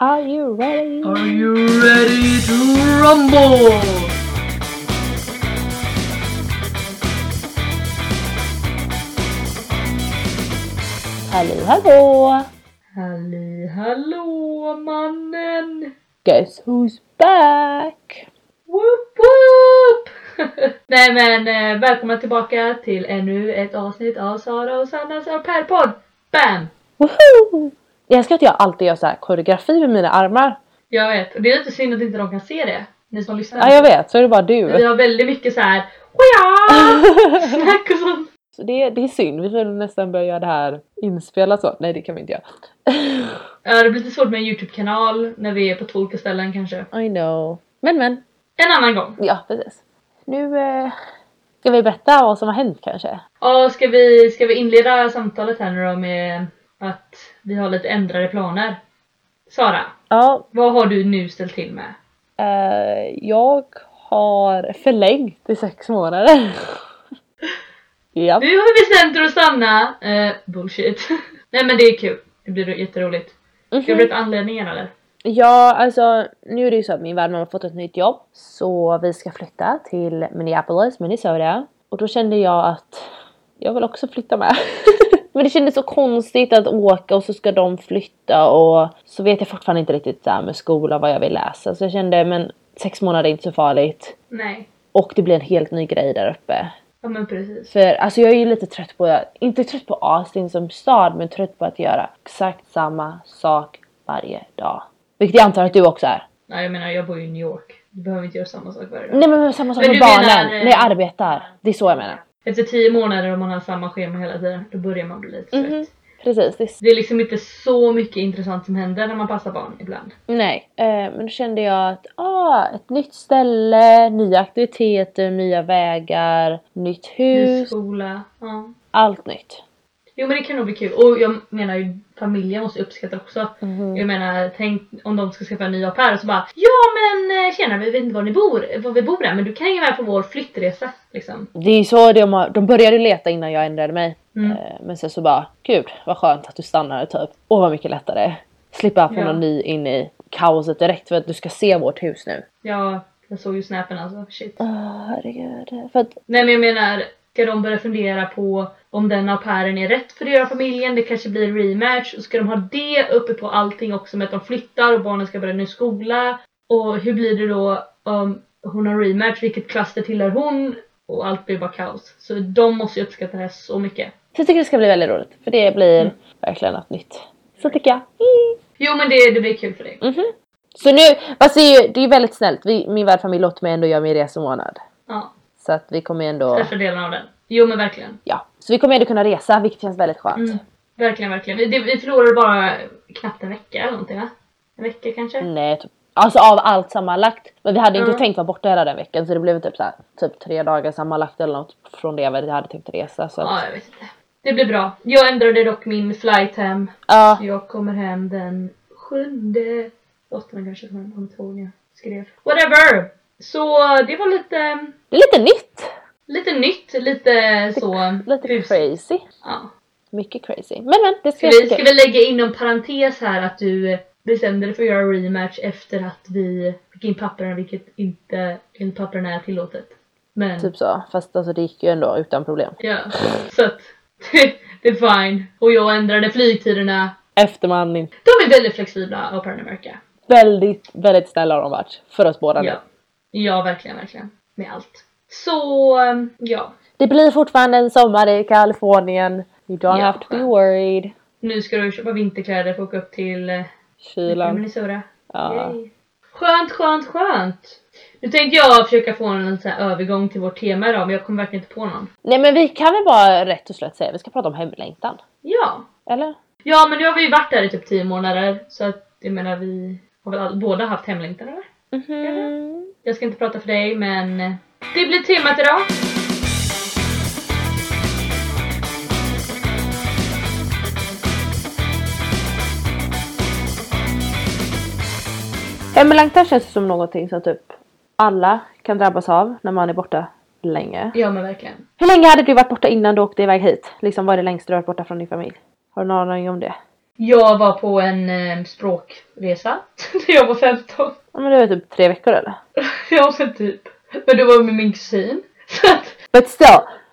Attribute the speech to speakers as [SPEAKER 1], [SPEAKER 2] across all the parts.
[SPEAKER 1] Are you ready?
[SPEAKER 2] Are you ready to rumble?
[SPEAKER 1] Hallå hallå!
[SPEAKER 2] Halli hallå mannen!
[SPEAKER 1] Guess who's back?
[SPEAKER 2] Whoop whoop! Nej men eh, välkomna tillbaka till ännu ett avsnitt av Sara och Sannas au pair-podd. Bam!
[SPEAKER 1] Woho! Jag älskar att jag alltid gör så här koreografi med mina armar.
[SPEAKER 2] Jag vet, och det är lite synd att inte de kan se det. Ni som lyssnar.
[SPEAKER 1] Ja jag vet, så är det bara
[SPEAKER 2] Vi
[SPEAKER 1] du.
[SPEAKER 2] har väldigt mycket så här. "Oja!" snack och sånt.
[SPEAKER 1] Så det, det är synd, vi får nästan börja göra det här inspelat så. Nej det kan vi inte göra.
[SPEAKER 2] Ja, det blir lite svårt med en YouTube-kanal när vi är på två olika ställen kanske.
[SPEAKER 1] I know. Men men.
[SPEAKER 2] En annan gång.
[SPEAKER 1] Ja precis. Nu eh, ska vi berätta vad som har hänt kanske.
[SPEAKER 2] Ja, ska vi, ska vi inleda samtalet här nu då med att vi har lite ändrade planer? Sara,
[SPEAKER 1] Ja,
[SPEAKER 2] vad har du nu ställt till med?
[SPEAKER 1] Eh, jag har förlängt i sex månader. ja.
[SPEAKER 2] Nu har vi bestämt oss att stanna! Eh, bullshit. Nej men det är kul. Det blir jätteroligt. Ska du berätta anledningen eller?
[SPEAKER 1] ja, alltså nu är det ju så att min värdmamma har fått ett nytt jobb. Så vi ska flytta till Minneapolis, Minnesota. Och då kände jag att jag vill också flytta med. Men det kändes så konstigt att åka och så ska de flytta och så vet jag fortfarande inte riktigt så här med skolan vad jag vill läsa. Så jag kände men sex månader är inte så farligt.
[SPEAKER 2] Nej.
[SPEAKER 1] Och det blir en helt ny grej där uppe.
[SPEAKER 2] Ja men precis.
[SPEAKER 1] För alltså jag är ju lite trött på, inte trött på Austin som stad men trött på att göra exakt samma sak varje dag. Vilket jag antar att du också är.
[SPEAKER 2] Nej jag menar jag bor ju i New York. Du behöver inte göra samma sak varje dag.
[SPEAKER 1] Nej men samma sak
[SPEAKER 2] Men
[SPEAKER 1] med
[SPEAKER 2] du menar,
[SPEAKER 1] barnen,
[SPEAKER 2] eh,
[SPEAKER 1] när jag arbetar. Det är så jag menar.
[SPEAKER 2] Efter tio månader om man har samma schema hela tiden, då börjar man bli lite trött.
[SPEAKER 1] Mhm. Precis, det är, s-
[SPEAKER 2] Det är liksom inte så mycket intressant som händer när man passar barn ibland.
[SPEAKER 1] nej. Eh, men då kände jag att ah, ett nytt ställe, nya aktiviteter, nya vägar, nytt
[SPEAKER 2] Ny
[SPEAKER 1] hus,
[SPEAKER 2] skola. Ja.
[SPEAKER 1] allt nytt.
[SPEAKER 2] Jo men det kan nog bli kul. Och jag menar ju familjen måste uppskatta också. Jag menar tänk om de ska skaffa en ny au pair och så bara Ja men eh, tjena vi vet inte var ni bor, var vi bor än men du kan hänga med på vår flyttresa liksom.
[SPEAKER 1] Det är ju så de, har, de började leta innan jag ändrade mig.
[SPEAKER 2] Mm.
[SPEAKER 1] Eh, Men sen så bara, gud vad skönt att du stannade typ. Åh vad mycket lättare. Slippa få
[SPEAKER 2] Ja.
[SPEAKER 1] någon ny in i kaoset direkt för att du ska se vårt hus nu.
[SPEAKER 2] Ja, jag såg ju snappen alltså. Shit.
[SPEAKER 1] Åh herregud. För att,
[SPEAKER 2] Nej men jag menar ska de börja fundera på om den au pairen är rätt för deras familjen, det kanske blir en rematch. Och ska de ha det uppe på allting också med att de flyttar och barnen ska börja ny skola. Och hur blir det då om hon har rematch, vilket klass det tillhör hon? Och allt blir bara kaos. Så de måste ju uppskatta det här så mycket.
[SPEAKER 1] så jag tycker det ska bli väldigt roligt. För det blir
[SPEAKER 2] Mm.
[SPEAKER 1] verkligen något nytt. Så tycker jag. Mm.
[SPEAKER 2] Jo men det, det blir kul för dig.
[SPEAKER 1] Så nu, fast det är ju det är ju väldigt snällt. Vi, min värdfamilj låter mig ändå göra min resemånad.
[SPEAKER 2] Ja,
[SPEAKER 1] Så att vi kommer ju ändå,
[SPEAKER 2] största delen av den. Jo men verkligen.
[SPEAKER 1] ja. Så vi kommer ändå kunna resa vilket känns väldigt skönt.
[SPEAKER 2] Mm. Verkligen, verkligen. Vi, det, vi förlorade bara knappt en vecka eller någonting va? En vecka kanske?
[SPEAKER 1] Nej, typ. Alltså av allt sammanlagt. Men vi hade inte
[SPEAKER 2] Ja.
[SPEAKER 1] tänkt vara borta hela den veckan så det blev typ, så här, typ tre dagar sammanlagt eller något från det jag hade tänkt resa. Så att,
[SPEAKER 2] Ja, jag vet inte. Det blir bra. Jag ändrade dock min flight hem.
[SPEAKER 1] ja.
[SPEAKER 2] Jag kommer hem den sjunde, åttonde kanske, som jag kommer inte ihåg när jag skrev. Whatever! Så det var lite,
[SPEAKER 1] Det är lite nytt.
[SPEAKER 2] lite nytt, lite så...
[SPEAKER 1] Lite
[SPEAKER 2] hus-
[SPEAKER 1] crazy.
[SPEAKER 2] Ja.
[SPEAKER 1] Mycket crazy. Men men det ska
[SPEAKER 2] Ska,
[SPEAKER 1] bli
[SPEAKER 2] vi, ska
[SPEAKER 1] jättekul.
[SPEAKER 2] vi lägga inom parentes här att du bestämde dig för att göra rematch efter att vi fick in papperna, vilket inte enligt papperna är tillåtet. Men,
[SPEAKER 1] Typ så. Fast alltså det gick ju ändå utan problem.
[SPEAKER 2] ja. Så att, det är fine. Och jag ändrade flygtiderna
[SPEAKER 1] Eftermanning.
[SPEAKER 2] De är väldigt flexibla, Au Pair in America.
[SPEAKER 1] Väldigt, väldigt snälla har de varit. För oss båda nu.
[SPEAKER 2] Ja. ja, verkligen, verkligen. Med allt. Så, ehm, ja.
[SPEAKER 1] Det blir fortfarande en sommar i Kalifornien. You don't
[SPEAKER 2] Ja.
[SPEAKER 1] have to be worried.
[SPEAKER 2] Nu ska du köpa vinterkläder för att åka upp till eh,
[SPEAKER 1] Kylan.
[SPEAKER 2] Minnesota.
[SPEAKER 1] Ja.
[SPEAKER 2] Yay. Skönt, skönt, skönt! Nu tänkte jag försöka få en sån här övergång till vårt tema idag, men jag kom verkligen inte på någon.
[SPEAKER 1] Nej men vi kan väl bara rätt och slätt säga vi ska prata om hemlängtan.
[SPEAKER 2] Ja.
[SPEAKER 1] Eller?
[SPEAKER 2] Ja, men nu har vi ju varit där i typ 10 månader, så att jag menar vi har väl all- båda haft hemlängtan eller?
[SPEAKER 1] Mhm.
[SPEAKER 2] Jag ska inte prata för dig, men eh, det blir temat idag.
[SPEAKER 1] Hemlängtan känns som någonting som typ alla kan drabbas av när man är borta länge.
[SPEAKER 2] Ja, men verkligen.
[SPEAKER 1] Hur länge hade du varit borta innan du åkte iväg hit? Liksom vad är det längst du har varit borta från din familj? Har du någon aning om det?
[SPEAKER 2] Jag var på en eh, språkresa när jag var 15.
[SPEAKER 1] Ja, men det var typ tre veckor eller?
[SPEAKER 2] ja men typ. Men det var med min kusin. Så att,
[SPEAKER 1] But still,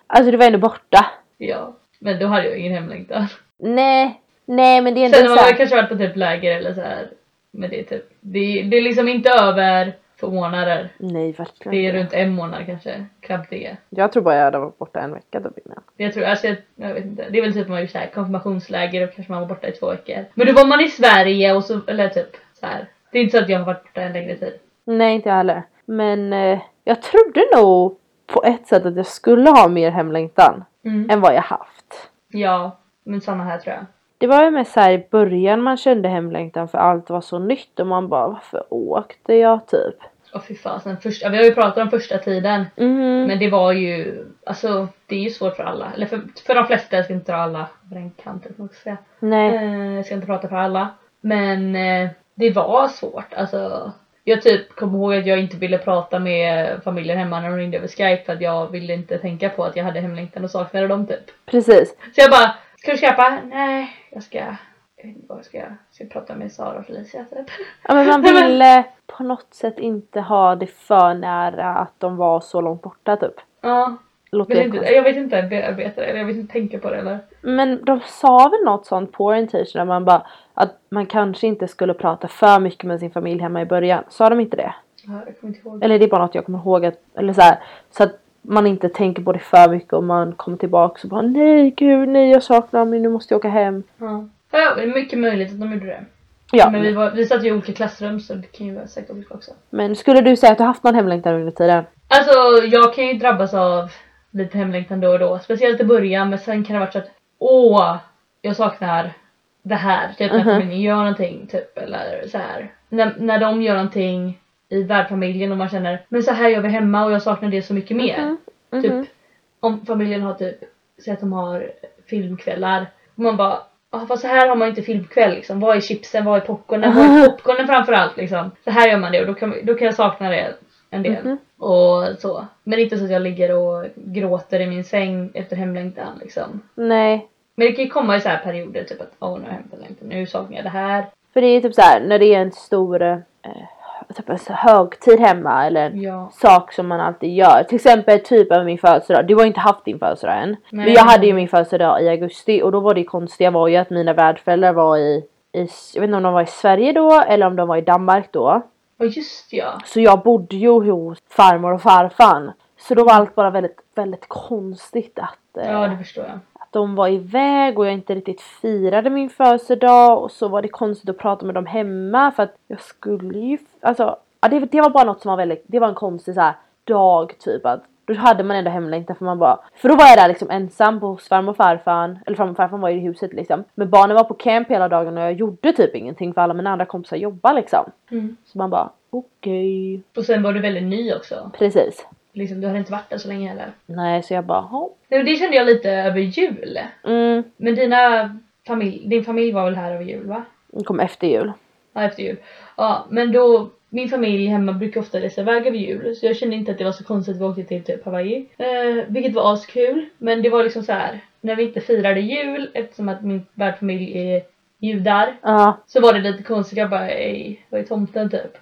[SPEAKER 1] alltså du var ändå borta.
[SPEAKER 2] ja. Men då hade jag ingen hemlängtan.
[SPEAKER 1] Nej, nej men det är inte
[SPEAKER 2] Sen har
[SPEAKER 1] så.
[SPEAKER 2] man väl
[SPEAKER 1] här-
[SPEAKER 2] kanske varit på typ läger eller så här. Men det är typ, det, det är liksom inte över två månader.
[SPEAKER 1] Nej verkligen
[SPEAKER 2] Det är
[SPEAKER 1] inte.
[SPEAKER 2] runt en månad kanske, knappt det.
[SPEAKER 1] Jag tror bara jag hade varit borta en vecka typ innan.
[SPEAKER 2] Jag tror, alltså jag, jag vet inte. Det är väl typ man gör så här konfirmationsläger och kanske man var borta i två veckor. Men då var man i Sverige och så, eller typ så här. Det är inte så att jag har varit borta en längre tid.
[SPEAKER 1] Nej inte jag heller. Men eh, jag trodde nog på ett sätt att jag skulle ha mer hemlängtan
[SPEAKER 2] Mm.
[SPEAKER 1] än vad jag haft.
[SPEAKER 2] Ja, men samma här tror jag.
[SPEAKER 1] Det var ju med så här i början man kände hemlängtan för allt var så nytt och man bara varför åkte jag typ?
[SPEAKER 2] Åh fy fasen, första, vi har ju pratat om första tiden.
[SPEAKER 1] Mm.
[SPEAKER 2] Men det var ju, alltså det är ju svårt för alla. Eller för, för de flesta, jag ska inte dra alla över en kant eller vad man ska säga.
[SPEAKER 1] Nej.
[SPEAKER 2] Eh, jag ska inte prata för alla. Men eh, det var svårt. Alltså, jag typ kommer ihåg att jag inte ville prata med familjen hemma när de ringde över skype för att jag ville inte tänka på att jag hade hemlängtan och saknade dem typ.
[SPEAKER 1] Precis.
[SPEAKER 2] Så jag bara, ska du skypa? Nej, jag ska, jag vet inte vad jag ska, jag ska prata med Sara och Felicia typ.
[SPEAKER 1] Ja, men man
[SPEAKER 2] Nej, men-
[SPEAKER 1] ville på något sätt inte ha det för nära att de var så långt borta typ.
[SPEAKER 2] Ja,
[SPEAKER 1] Låter
[SPEAKER 2] vill
[SPEAKER 1] det
[SPEAKER 2] inte,
[SPEAKER 1] konstigt.
[SPEAKER 2] jag vet inte bearbeta det eller jag vill inte tänka på det eller.
[SPEAKER 1] Men de sa väl något sånt på orientation där man bara att man kanske inte skulle prata för mycket med sin familj hemma i början. Sa de inte det?
[SPEAKER 2] Ja, jag kommer inte ihåg.
[SPEAKER 1] Eller det är bara något jag kommer ihåg att, eller så här, så att man inte tänker på det för mycket och man kommer tillbaka och bara nej gud nej jag saknar dem nu måste jag åka hem.
[SPEAKER 2] Ja. ja, det är mycket möjligt att de gjorde det.
[SPEAKER 1] Ja,
[SPEAKER 2] men
[SPEAKER 1] men,
[SPEAKER 2] vi, var, vi satt ju i olika klassrum så det kan ju vara säkert olika också.
[SPEAKER 1] skulle du säga att du haft någon hemlängtan under tiden?
[SPEAKER 2] Alltså jag kan ju drabbas av lite hemlängtan då och då. Speciellt i början men sen kan det vara så att åh, jag saknar det här. Typ när
[SPEAKER 1] Mhm.
[SPEAKER 2] familjen gör någonting typ eller så här. När, när de gör någonting i värdfamiljen och man känner men så här gör vi hemma och jag saknar det så mycket mer.
[SPEAKER 1] Mhm. Mhm.
[SPEAKER 2] Typ om familjen har typ, säg att de har filmkvällar och man bara ah, fast så här har man ju inte filmkväll liksom. Vad är chipsen? Vad är popcornen? Vad är popcornen framförallt liksom? Så här gör man det och då kan, då kan jag sakna det en del.
[SPEAKER 1] Mhm.
[SPEAKER 2] Och så. Men inte så att jag ligger och gråter i min säng efter hemlängtan liksom.
[SPEAKER 1] Nej.
[SPEAKER 2] Men det kan ju komma i så här perioder typ att åh nu har jag hemlängtan, nu saknar jag det här.
[SPEAKER 1] För det är typ så här när det är en stor eh, typ en så- högtid hemma eller en
[SPEAKER 2] Ja.
[SPEAKER 1] sak som man alltid gör. Till exempel typ av min födelsedag. Du har inte haft din födelsedag än. Men
[SPEAKER 2] Nej.
[SPEAKER 1] jag hade ju min födelsedag i augusti och då var det konstiga var ju att mina värdföräldrar var i, i jag vet inte om de var i Sverige då eller om de var i Danmark då.
[SPEAKER 2] Och just ja.
[SPEAKER 1] Så jag bodde ju hos farmor och farfar. Så då var allt bara väldigt, väldigt konstigt att, eh,
[SPEAKER 2] Ja det förstår jag.
[SPEAKER 1] att de var iväg och jag inte riktigt firade min födelsedag och så var det konstigt att prata med dem hemma för att jag skulle ju, alltså ja, det, det var bara något som var väldigt, det var en konstig så här dag typ att då hade man ändå hemlängtan för man bara, för då var jag där liksom ensam på hos farmor och farfar, eller farmor och farfar var ju i huset liksom. Men barnen var på camp hela dagen och jag gjorde typ ingenting för alla mina andra kompisar jobbade liksom.
[SPEAKER 2] Mm.
[SPEAKER 1] Så man bara okej,
[SPEAKER 2] Och sen var du väldigt ny också.
[SPEAKER 1] precis. Liksom.
[SPEAKER 2] Liksom, du hade inte varit där så länge heller.
[SPEAKER 1] Nej så jag bara "Ja."
[SPEAKER 2] Nej, men Det kände jag lite över jul.
[SPEAKER 1] mm,
[SPEAKER 2] Men dina familj, din familj var väl här över jul va?
[SPEAKER 1] den kom efter jul.
[SPEAKER 2] Ja, efter jul. Ja, men då, min familj hemma brukar ofta resa iväg över jul så jag kände inte att det var så konstigt att vi åkte till typ Hawaii. Eh, vilket var askul, men det var liksom så här när vi inte firade jul eftersom att min värdfamilj är judar
[SPEAKER 1] Ja,
[SPEAKER 2] så var det lite konstigt, jag bara ej, vad är tomten typ?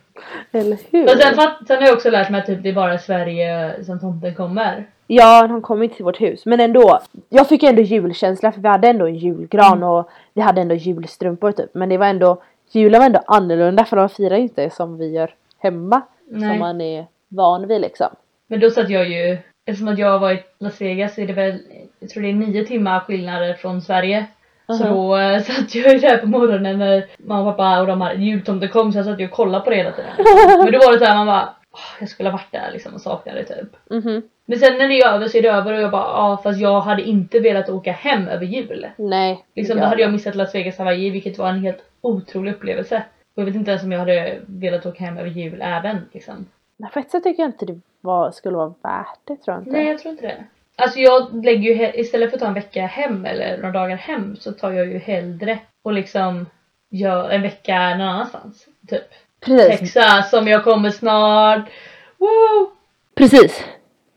[SPEAKER 1] eller hur?
[SPEAKER 2] Men sen, fatt- sen har jag också lärt mig att typ, det är bara i Sverige som tomten kommer.
[SPEAKER 1] Ja, han kom inte till vårt hus. Men ändå. Jag fick ändå julkänsla för vi hade ändå en julgran
[SPEAKER 2] Mm.
[SPEAKER 1] och vi hade ändå julstrumpor typ. Men det var ändå, julen var ändå annorlunda för de firar ju inte som vi gör hemma.
[SPEAKER 2] Nej.
[SPEAKER 1] Som man är van vid liksom.
[SPEAKER 2] Men då satt jag ju, eftersom att jag var i Las Vegas så är det väl, jag tror det är nio timmar skillnader från Sverige. Så
[SPEAKER 1] Mhm.
[SPEAKER 2] då eh, satt jag ju där på morgonen när mamma och pappa och de här jultomten kom så jag satt ju och kollade på det hela tiden. Men då var det såhär man bara, "Åh, jag skulle ha varit där liksom och saknade det typ.
[SPEAKER 1] Mhm.
[SPEAKER 2] Men sen när det är över så är det över och jag bara, ja fast jag hade inte velat åka hem över jul.
[SPEAKER 1] Nej.
[SPEAKER 2] Liksom, då hade jag missat Las Vegas Hawaii vilket var en helt otrolig upplevelse. Och jag vet inte ens om jag hade velat åka hem över jul även liksom.
[SPEAKER 1] Men på ett sätt tycker jag inte det var, skulle vara värt det tror jag inte.
[SPEAKER 2] Nej jag tror inte det. Alltså jag lägger ju he- istället för att ta en vecka hem eller några dagar hem så tar jag ju hellre och liksom gör en vecka någon annanstans. Typ
[SPEAKER 1] Precis.
[SPEAKER 2] Texas som jag kommer snart. Woo!
[SPEAKER 1] Precis.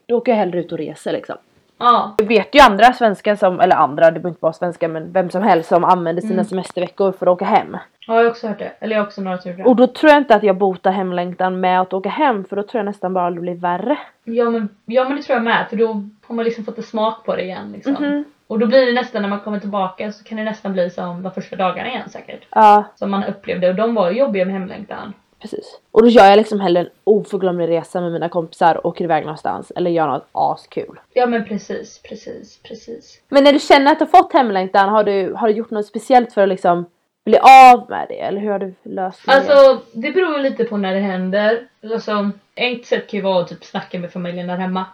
[SPEAKER 1] Då åker jag hellre ut och reser liksom.
[SPEAKER 2] Ja.
[SPEAKER 1] Jag vet ju andra svenskar som, eller andra, det behöver inte vara svenskar men vem som helst som använder sina
[SPEAKER 2] Mm.
[SPEAKER 1] semesterveckor för att åka hem.
[SPEAKER 2] ja, jag har också hört det. Eller jag har också några som gjort det.
[SPEAKER 1] Och då tror jag inte att jag botar hemlängtan med att åka hem för då tror jag nästan bara att det blir värre.
[SPEAKER 2] Ja men, ja men det tror jag med för då har man liksom fått en smak på det igen liksom.
[SPEAKER 1] Mhm.
[SPEAKER 2] Och då blir det nästan när man kommer tillbaka så kan det nästan bli som de första dagarna igen säkert.
[SPEAKER 1] Ja,
[SPEAKER 2] Som man upplevde och de var ju jobbiga med hemlängtan.
[SPEAKER 1] precis. Och då gör jag liksom hellre en oförglömlig resa med mina kompisar, åker iväg någonstans eller gör något askul.
[SPEAKER 2] Ja men precis, precis, precis.
[SPEAKER 1] Men när du känner att du har fått hemlängtan, har du, har du gjort något speciellt för att liksom bli av med det? Eller hur har du löst det?
[SPEAKER 2] Alltså det beror ju lite på när det händer. Alltså ett sätt kan ju vara att typ snacka med familjen där hemma.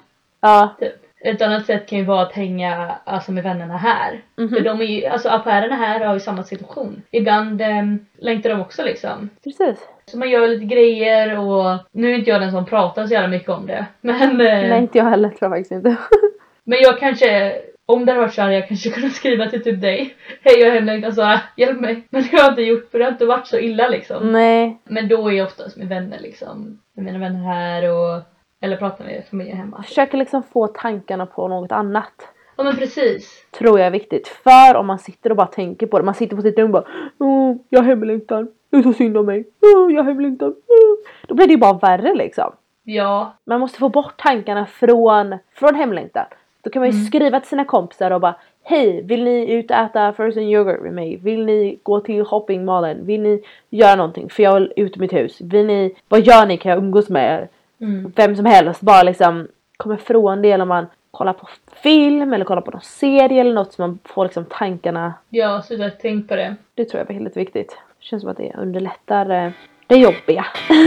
[SPEAKER 1] Ja,
[SPEAKER 2] Typ. Ett annat sätt kan ju vara att hänga alltså, med vännerna här.
[SPEAKER 1] Mhm.
[SPEAKER 2] För de är ju, alltså affärerna här har ju samma situation. Ibland ehm, längtar de också liksom.
[SPEAKER 1] precis.
[SPEAKER 2] Så man gör lite grejer och nu är inte jag den som pratar så jävla mycket om det. Men, eh,
[SPEAKER 1] Nej, inte jag heller tror jag faktiskt inte.
[SPEAKER 2] men jag kanske, om det hade varit så här, jag kanske kunde skriva till typ dig. Hej jag är hemlängtan så här, hjälp mig. Men det har jag inte gjort för det har inte varit så illa liksom.
[SPEAKER 1] Nej,
[SPEAKER 2] Men då är jag oftast med vänner liksom. Med mina vänner här och eller pratar med familjen hemma.
[SPEAKER 1] försöker liksom få tankarna på något annat.
[SPEAKER 2] Ja men precis.
[SPEAKER 1] Tror jag är viktigt. För om man sitter och bara tänker på det, man sitter på sitt rum och bara Åh, jag hemlängtar. Det är så synd om mig. Åh, jag hemlängtar. Åh." Då blir det ju bara värre liksom.
[SPEAKER 2] Ja,
[SPEAKER 1] Man måste få bort tankarna från, från hemlängtan. Då kan man ju
[SPEAKER 2] Mm.
[SPEAKER 1] skriva till sina kompisar och bara Hej, vill ni ut och äta frozen yoghurt med mig? Vill ni gå till shoppingmallen? Vill ni göra någonting? För jag vill ut ur mitt hus. Vill ni, vad gör ni? Kan jag umgås med er?
[SPEAKER 2] mm.
[SPEAKER 1] vem som helst bara liksom kommer från det eller man kollar på film eller kollar på någon serie eller något så man får liksom tankarna.
[SPEAKER 2] ja sluta tänk på det.
[SPEAKER 1] Det tror jag var väldigt viktigt. Det känns som att det underlättar eh, det jobbiga.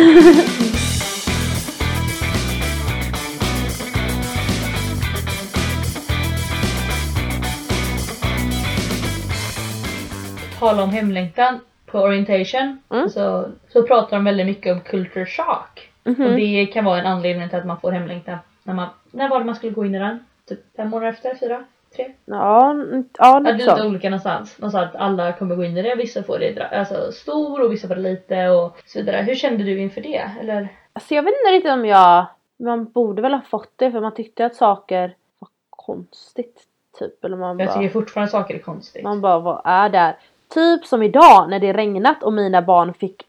[SPEAKER 2] Tala om hemlängtan på orientation
[SPEAKER 1] Mm.
[SPEAKER 2] så, så pratar de väldigt mycket om culture shock.
[SPEAKER 1] Mhm.
[SPEAKER 2] Och det kan vara en anledning till att man får hemlängtan. När, man, när var det man skulle gå in i den? Typ fem månader efter? Fyra?
[SPEAKER 1] Mm,
[SPEAKER 2] Tre?
[SPEAKER 1] Ja, n- ja
[SPEAKER 2] Ja, det är
[SPEAKER 1] något
[SPEAKER 2] lite
[SPEAKER 1] sånt.
[SPEAKER 2] olika någonstans. Man sa att alla kommer gå in i det. Vissa får det dra- alltså, stor och vissa får det lite och så vidare. Hur kände du inför det? Eller?
[SPEAKER 1] Alltså jag vet inte riktigt om jag... Man borde väl ha fått det för man tyckte att saker var konstigt. Typ. Eller man
[SPEAKER 2] Jag
[SPEAKER 1] bara...
[SPEAKER 2] tycker fortfarande saker är konstigt.
[SPEAKER 1] Man bara, vad är det här? Typ som idag när det regnat och mina barn fick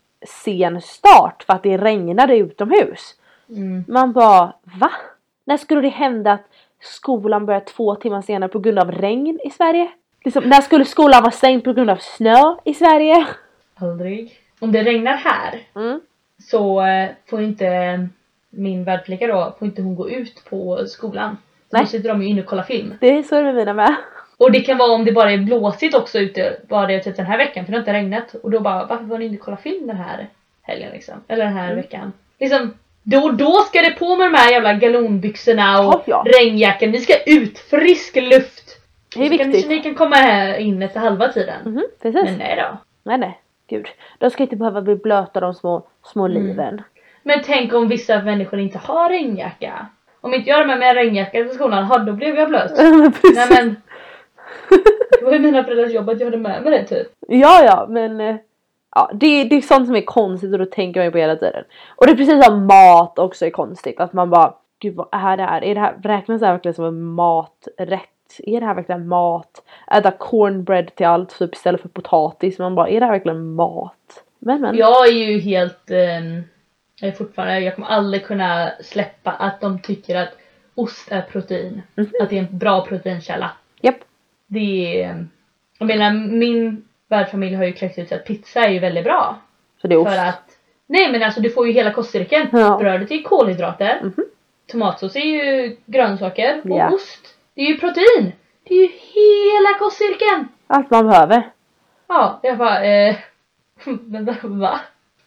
[SPEAKER 1] sen start för att det regnade utomhus.
[SPEAKER 2] Mm.
[SPEAKER 1] Man bara, va? När skulle det hända att skolan börjar två timmar senare på grund av regn i Sverige? Liksom, när skulle skolan vara stängd på grund av snö i Sverige?
[SPEAKER 2] Aldrig. Om det regnar här så eh, får inte min värdflicka då, får inte hon gå ut på skolan. Så
[SPEAKER 1] Nej.
[SPEAKER 2] då sitter de ju inne och kollar film.
[SPEAKER 1] Det är så det är med mina med.
[SPEAKER 2] Och det kan vara om det bara är blåsigt också ute, bara det är typ den här veckan för det har inte regnat. Och då bara varför var ni inte och kollade film den här helgen liksom? Eller den här
[SPEAKER 1] Mm.
[SPEAKER 2] veckan. Liksom då och då ska det på med de här jävla galonbyxorna och
[SPEAKER 1] Ja, ja.
[SPEAKER 2] regnjackan. Vi ska ut, frisk luft!
[SPEAKER 1] Det är
[SPEAKER 2] så kan
[SPEAKER 1] viktigt.
[SPEAKER 2] ni, ni kan komma här in efter halva tiden.
[SPEAKER 1] Mhm, precis.
[SPEAKER 2] Men nej då.
[SPEAKER 1] Nej, nej. Gud. De ska inte behöva bli blöta de små, små
[SPEAKER 2] Mm.
[SPEAKER 1] liven.
[SPEAKER 2] Men tänk om vissa människor inte har regnjacka. Om inte jag hade med mig en regnjacka till skolan, ha, då blev jag blöt.
[SPEAKER 1] Precis.
[SPEAKER 2] Nej men. Det var ju mina föräldrars jobb att jag hade med mig det typ.
[SPEAKER 1] Ja, ja, men eh, ja, det, det är sånt som är konstigt och då tänker man ju på hela tiden. Och det är precis som mat också är konstigt. Att man bara, gud vad är det här? Är det här räknas det här verkligen som en maträtt? Är det här verkligen mat? Äta cornbread till allt typ, istället för potatis. Man bara, är det här verkligen mat? Men men.
[SPEAKER 2] Jag är ju helt, ehm, jag är fortfarande, jag kommer aldrig kunna släppa att de tycker att ost är protein. Att det är en bra proteinkälla.
[SPEAKER 1] Japp.
[SPEAKER 2] Det är, jag menar min värdfamilj har ju kläckt ut att pizza är ju väldigt bra.
[SPEAKER 1] Så det är ost.
[SPEAKER 2] För att, nej men alltså du får ju hela kostcirkeln.
[SPEAKER 1] Ja. Mhm.
[SPEAKER 2] Brödet är ju kolhydrater. Tomatsås är ju grönsaker. Och
[SPEAKER 1] Ja.
[SPEAKER 2] ost, det är ju protein. Det är ju hela kostcirkeln.
[SPEAKER 1] Allt man behöver.
[SPEAKER 2] Ja, jag bara eh, men va?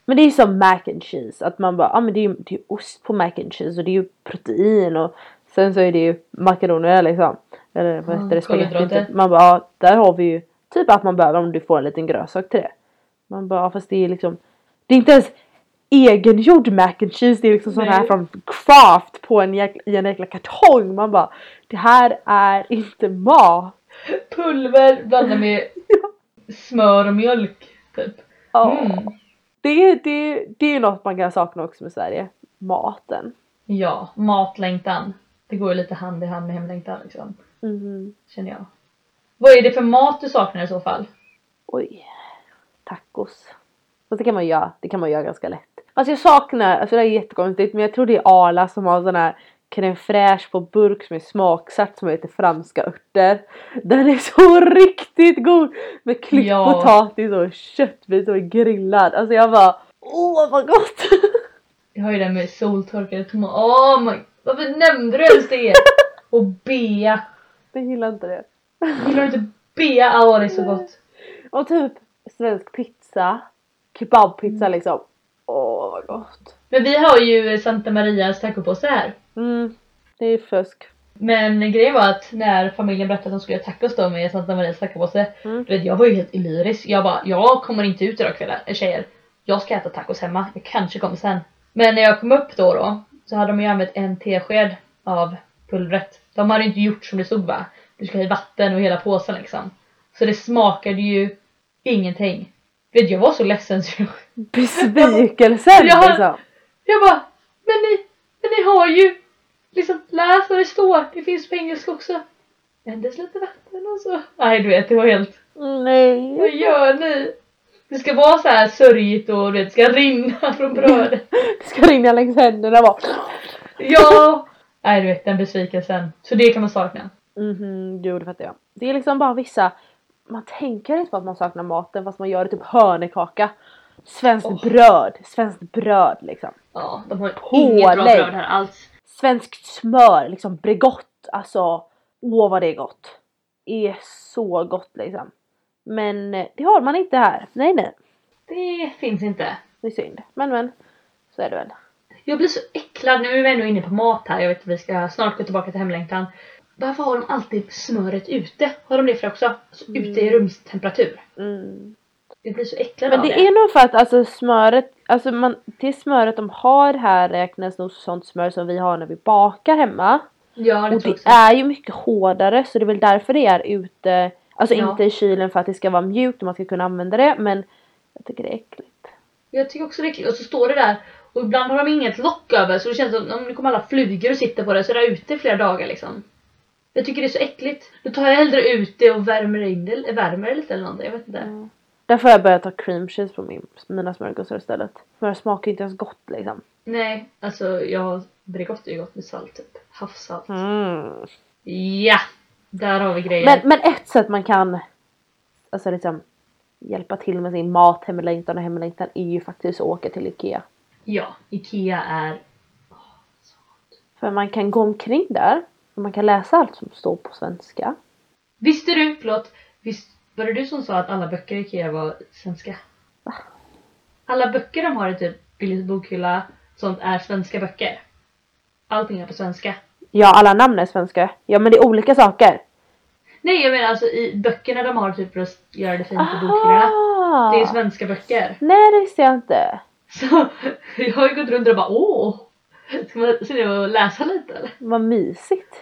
[SPEAKER 1] Men det är ju som mac and cheese. Att man bara, ja ah, men det är ju det är ju ost på mac and cheese och det är ju protein och sen så är det ju makaroner liksom. Eller vad
[SPEAKER 2] Ja,
[SPEAKER 1] heter det? Spagetti.
[SPEAKER 2] kolhydrater.
[SPEAKER 1] typ. Man bara, ah, där har vi ju typ allt man behöver om du får en liten grönsak till det. Man bara, ah, fast det är liksom, det är inte ens egengjord mac and cheese. Det är liksom sån
[SPEAKER 2] Nej.
[SPEAKER 1] här från craft på en jäkla, i en jäkla kartong. Man bara, det här är inte mat.
[SPEAKER 2] Pulver blandat med smör och mjölk typ.
[SPEAKER 1] Ja.
[SPEAKER 2] Mm.
[SPEAKER 1] Det, är- det, det är ju något man kan sakna också med Sverige. Maten.
[SPEAKER 2] Ja, matlängtan. Det går ju lite hand i hand med hemlängtan liksom.
[SPEAKER 1] Mhm.
[SPEAKER 2] Känner jag. Vad är det för mat du saknar i så fall?
[SPEAKER 1] Oj. Tacos. Fast det kan man göra. Det kan man göra ganska lätt. Alltså jag saknar, alltså det här är jättekonstigt men jag tror det är Arla som har sån här crème fraîche på burk som är smaksatt som heter franska örter. Den är så riktigt god! Med klippt
[SPEAKER 2] Ja.
[SPEAKER 1] potatis och köttbit och grillad. Alltså jag bara åh vad gott!
[SPEAKER 2] Jag har ju den med soltorkade tomater. Åh my... Varför nämnde du ens det? Och bea.
[SPEAKER 1] jag gillar inte det.
[SPEAKER 2] Gillar du inte bea? Ja, det är så gott.
[SPEAKER 1] Och typ svensk pizza. Kebabpizza liksom. Åh vad gott.
[SPEAKER 2] Men vi har ju Santa Marias tacopåse här.
[SPEAKER 1] Mm, det är fusk.
[SPEAKER 2] Men grejen var att när familjen berättade att de skulle göra tacos då med Santa Marias tacopåse.
[SPEAKER 1] Mm.
[SPEAKER 2] Du vet, jag var ju helt illyrisk. Jag bara, jag kommer inte ut idag kvällen, eh, tjejer. Jag ska äta tacos hemma. Jag kanske kommer sen. Men när jag kom upp då då så hade de ju använt en tesked av pulvret. De hade ju inte gjort som det stod va. Du ska ha i vatten och hela påsen liksom. Så det smakade ju ingenting. Du vet, jag var så ledsen så jag
[SPEAKER 1] Besvikelsen
[SPEAKER 2] Jag har-
[SPEAKER 1] liksom.
[SPEAKER 2] jag bara, men ni, men ni har ju liksom läst vad det står. Det finns på engelska också. Endast lite vatten och så. Nej du vet, det var helt, vad
[SPEAKER 1] Nej.
[SPEAKER 2] gör ni? Det ska vara så här sörjigt och du vet, det ska rinna från brödet.
[SPEAKER 1] Det ska rinna längs händerna bara.
[SPEAKER 2] Ja! Nej du vet, den besvikelsen. Så det kan man sakna.
[SPEAKER 1] Mhm, jo det fattar jag. Det är liksom bara vissa, man tänker inte på att man saknar maten fast man gör det typ hörnekaka. Svenskt
[SPEAKER 2] Åh.
[SPEAKER 1] bröd, svenskt bröd liksom.
[SPEAKER 2] Ja, de har
[SPEAKER 1] Pålägg.
[SPEAKER 2] inget bra bröd här alls.
[SPEAKER 1] Svenskt smör, liksom Bregott. Alltså, åh vad det är gott. Är så gott liksom. Men eh, det har man inte här. Nej nej,
[SPEAKER 2] Det finns inte.
[SPEAKER 1] det är synd. Men men, så är det väl.
[SPEAKER 2] Jag blir så äcklad, nu är vi ändå inne på mat här, jag vet att vi ska snart gå tillbaka till hemlängtan. Varför har de alltid smöret ute? Har de det för också? Alltså, Ute i rumstemperatur.
[SPEAKER 1] Mm.
[SPEAKER 2] Jag blir så äcklad
[SPEAKER 1] Men
[SPEAKER 2] av
[SPEAKER 1] det
[SPEAKER 2] det.
[SPEAKER 1] är nog för att alltså smöret, alltså man, det smöret de har här räknas nog sånt smör som vi har när vi bakar hemma.
[SPEAKER 2] Ja, det
[SPEAKER 1] Och
[SPEAKER 2] tror jag
[SPEAKER 1] det
[SPEAKER 2] också.
[SPEAKER 1] är ju mycket hårdare så det är väl därför det är ute, alltså
[SPEAKER 2] Ja.
[SPEAKER 1] inte i kylen för att det ska vara mjukt och man ska kunna använda det men jag tycker det är äckligt.
[SPEAKER 2] Jag tycker också det är äckligt. Och så står det där och ibland har de inget lock över så det känns som om nu kommer alla flugor och sitter på det så är det ute i flera dagar liksom. Jag tycker det är så äckligt. Då tar jag hellre ut det och värmer in det, värmer det lite eller någonting, jag vet
[SPEAKER 1] Mm.
[SPEAKER 2] inte.
[SPEAKER 1] Därför har jag börjat ha cream cheese på min, mina smörgåsar istället. Smör smakar ju inte ens gott liksom.
[SPEAKER 2] Nej, alltså jag... Bregott är ju gott med salt typ. Havssalt.
[SPEAKER 1] Mm.
[SPEAKER 2] Ja! Där har vi grejen.
[SPEAKER 1] Men, men ett sätt man kan alltså liksom hjälpa till med sin mat, hemlängtan och hemlängtan är ju faktiskt att åka till Ikea.
[SPEAKER 2] Ja, IKEA är...
[SPEAKER 1] För man kan gå omkring där och man kan läsa allt som står på svenska.
[SPEAKER 2] Visste du, förlåt, visst, var det du som sa att alla böcker i IKEA var svenska?
[SPEAKER 1] Va?
[SPEAKER 2] Alla böcker de har i typ Billys bokhylla, sånt är svenska böcker. Allting är på svenska.
[SPEAKER 1] Ja, alla namn är svenska. Ja, men det är olika saker.
[SPEAKER 2] Nej, jag menar alltså i böckerna de har typ för att göra det fint i bokhyllorna. Det är svenska böcker.
[SPEAKER 1] Nej, det visste jag inte.
[SPEAKER 2] Så jag har ju gått runt och bara åh! Ska man se det och läsa lite eller?
[SPEAKER 1] Vad mysigt.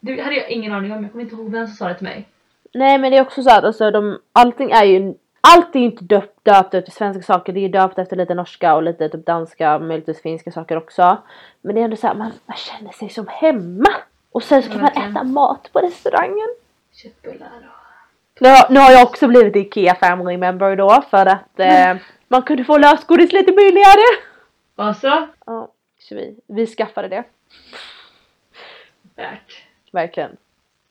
[SPEAKER 2] Det hade jag ingen aning om, jag kommer inte ihåg vem som sa det till mig.
[SPEAKER 1] Nej, men det är också så att alltså, de, allting är ju allt är ju inte döpt, döpt efter svenska saker. Det är ju döpt efter lite norska och lite typ danska, möjligtvis finska saker också. Men det är ändå så här, man, man känner sig som hemma. Och sen så
[SPEAKER 2] Ja,
[SPEAKER 1] kan man
[SPEAKER 2] verkligen.
[SPEAKER 1] äta mat på restaurangen.
[SPEAKER 2] Köttbullar och...
[SPEAKER 1] Nu har, nu har jag också blivit IKEA family member då för att eh, man kunde få lösgodis lite billigare.
[SPEAKER 2] Alltså,
[SPEAKER 1] Ja, så vi, vi skaffade det.
[SPEAKER 2] värt.
[SPEAKER 1] Verkligen.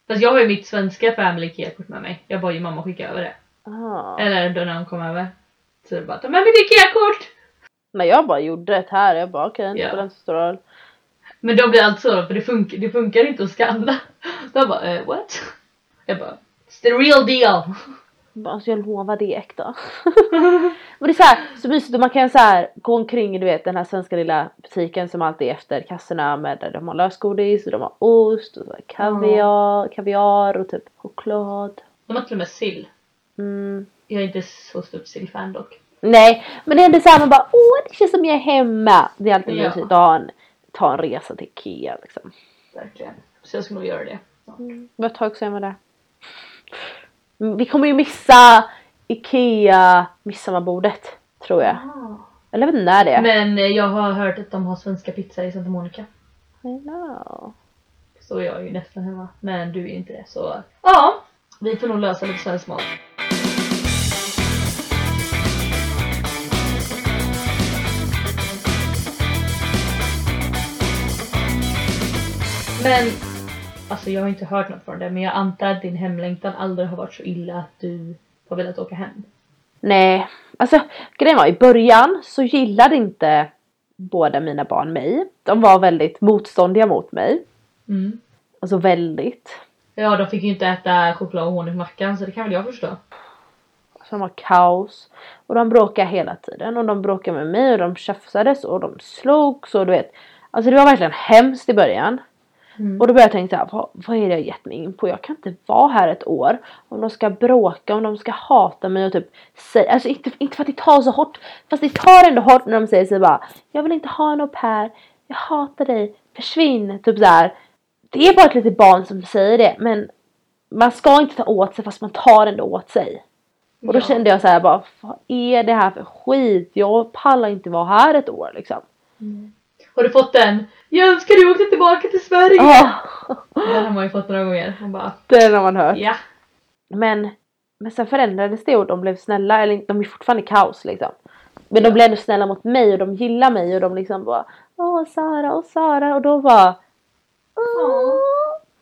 [SPEAKER 2] Fast jag har ju mitt svenska family IKEA-kort med mig. Jag bad ju mamma skicka över det.
[SPEAKER 1] Ah.
[SPEAKER 2] Eller då när hon kom över. Så det bara ta med mitt IKEA-kort!
[SPEAKER 1] Men jag bara gjorde det här. Jag bara okej, inte
[SPEAKER 2] Ja.
[SPEAKER 1] på den som står öl.
[SPEAKER 2] Men då blir allt så då, för det, funkar, det funkar inte att skanna. Då bara eh, what? Jag bara it's the real deal!
[SPEAKER 1] Jag bara, Alltså jag lovar det är äkta. och det är så, här, så mysigt och man kan så här, gå omkring du vet den här svenska lilla butiken som alltid är efter kassorna med där de har lösgodis och de har ost och så här, kaviar, kaviar och typ choklad.
[SPEAKER 2] De har till och med sill.
[SPEAKER 1] Mm.
[SPEAKER 2] Jag är inte så stort sillfan dock.
[SPEAKER 1] Nej, men det är ändå såhär man bara åh det känns som jag är hemma. Det är alltid
[SPEAKER 2] Ja.
[SPEAKER 1] mysigt att ha en, ta en resa till Ikea liksom.
[SPEAKER 2] Verkligen. Så jag ska nog göra det.
[SPEAKER 1] Vad tag säger man där? Mm, Vi kommer ju missa Ikea midsommarbordet tror jag. Eller jag vet inte när det är.
[SPEAKER 2] Men eh, jag har hört att de har svenska pizza i Santa Monica.
[SPEAKER 1] I know.
[SPEAKER 2] Så så jag är ju nästan hemma. Men du är inte det så ja, vi får nog lösa lite svensk mat. Men alltså jag har inte hört något från det men jag antar att din hemlängtan aldrig har varit så illa att du har velat åka hem.
[SPEAKER 1] Nej, alltså grejen var i början så gillade inte båda mina barn mig. De var väldigt motståndiga mot mig.
[SPEAKER 2] Mm.
[SPEAKER 1] Alltså väldigt.
[SPEAKER 2] Ja, de fick ju inte äta choklad och honung på mackan så det kan väl jag förstå.
[SPEAKER 1] Som var kaos. Och de bråkade hela tiden och de bråkade med mig och de tjafsades och de slogs och du vet. Alltså det var verkligen hemskt i början.
[SPEAKER 2] Mm.
[SPEAKER 1] Och då började jag tänka så här, vad, vad är det jag gett mig in på? Jag kan inte vara här ett år. Om de ska bråka, om de ska hata mig och typ säga, alltså inte, inte för att det tar så hårt. Fast det tar ändå hårt när de säger så bara, jag vill inte ha en au pair, jag hatar dig, försvinn. Typ så här. Det är bara ett litet barn som säger det men man ska inte ta åt sig fast man tar ändå åt sig. Och då
[SPEAKER 2] Ja.
[SPEAKER 1] kände jag så här bara, vad är det här för skit? Jag pallar inte vara här ett år liksom.
[SPEAKER 2] Har du fått den? Jag önskar du åkte tillbaka till Sverige!
[SPEAKER 1] Oh,
[SPEAKER 2] Den har man ju fått några gånger. Man bara
[SPEAKER 1] det har man hört.
[SPEAKER 2] ja.
[SPEAKER 1] Men, men sen förändrades det och de blev snälla, eller de är fortfarande kaos liksom. Men de blev ändå snälla mot mig och de gillar mig och de liksom bara Åh Sara, åh Sara och då bara Åh,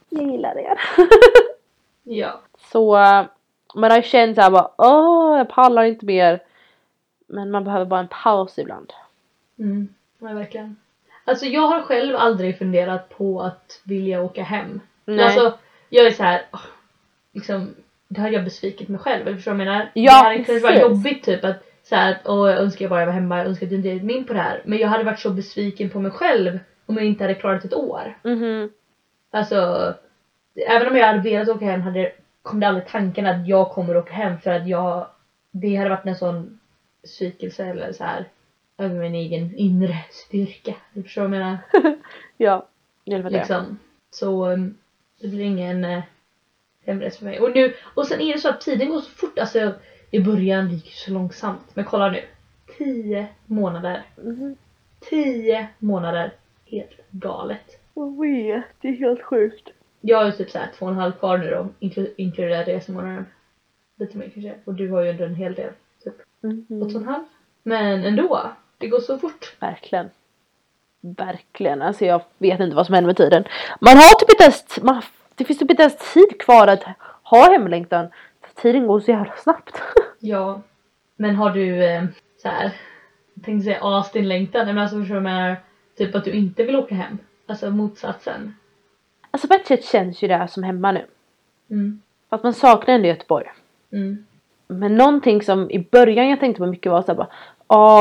[SPEAKER 1] jag gillar er.
[SPEAKER 2] Ja.
[SPEAKER 1] så eh, man har ju känt såhär bara Åh, jag pallar inte mer. Men man behöver bara en paus ibland.
[SPEAKER 2] Mm. Ja, verkligen. Alltså jag har själv aldrig funderat på att vilja åka hem.
[SPEAKER 1] Nej.
[SPEAKER 2] Men alltså jag är så här, åh, liksom, det har jag besvikit mig själv. Eller förstår du vad jag menar?
[SPEAKER 1] Ja,
[SPEAKER 2] det hade kanske varit
[SPEAKER 1] precis.
[SPEAKER 2] jobbigt typ att så här, att, åh, jag önskar jag bara jag var hemma, jag önskar att jag inte gett mig in på det här. Men jag hade varit så besviken på mig själv om jag inte hade klarat ett år.
[SPEAKER 1] Mhm.
[SPEAKER 2] Alltså, även om jag hade velat åka hem hade, kom det aldrig tanken att jag kommer åka hem för att jag, det hade varit en sån psykelse eller så här över min egen inre styrka. Du förstår vad jag menar?
[SPEAKER 1] Ja, i alla fall det.
[SPEAKER 2] Liksom. Så um, det blir ingen eh, hemresa för mig. Och, nu, och sen är det så att tiden går så fort. Alltså i början gick det så långsamt. Men kolla nu. 10 månader.
[SPEAKER 1] Mhm.
[SPEAKER 2] 10 månader. Helt galet.
[SPEAKER 1] Jag vet, det är helt sjukt.
[SPEAKER 2] Jag har ju typ såhär två och en halv kvar nu då, inklu- inkluderar resemånaden. Lite mer kanske. Och du har ju ändå en hel del. Typ åtta och
[SPEAKER 1] Mhm.
[SPEAKER 2] en halv. Men ändå. Det går så fort.
[SPEAKER 1] Verkligen. Verkligen. Alltså jag vet inte vad som händer med tiden. Man har typ inte ens, man, det finns typ inte ens tid kvar att ha hemlängtan. För tiden går så jävla snabbt.
[SPEAKER 2] Ja. Men har du eh, såhär, jag tänkte säga as din längtan. Men alltså förstår du vad jag menar? Typ att du inte vill åka hem. Alltså motsatsen.
[SPEAKER 1] Alltså på ett sätt känns ju det här som hemma nu.
[SPEAKER 2] Mm.
[SPEAKER 1] För att man saknar ändå Göteborg.
[SPEAKER 2] Mm.
[SPEAKER 1] Men någonting som i början jag tänkte på mycket var såhär bara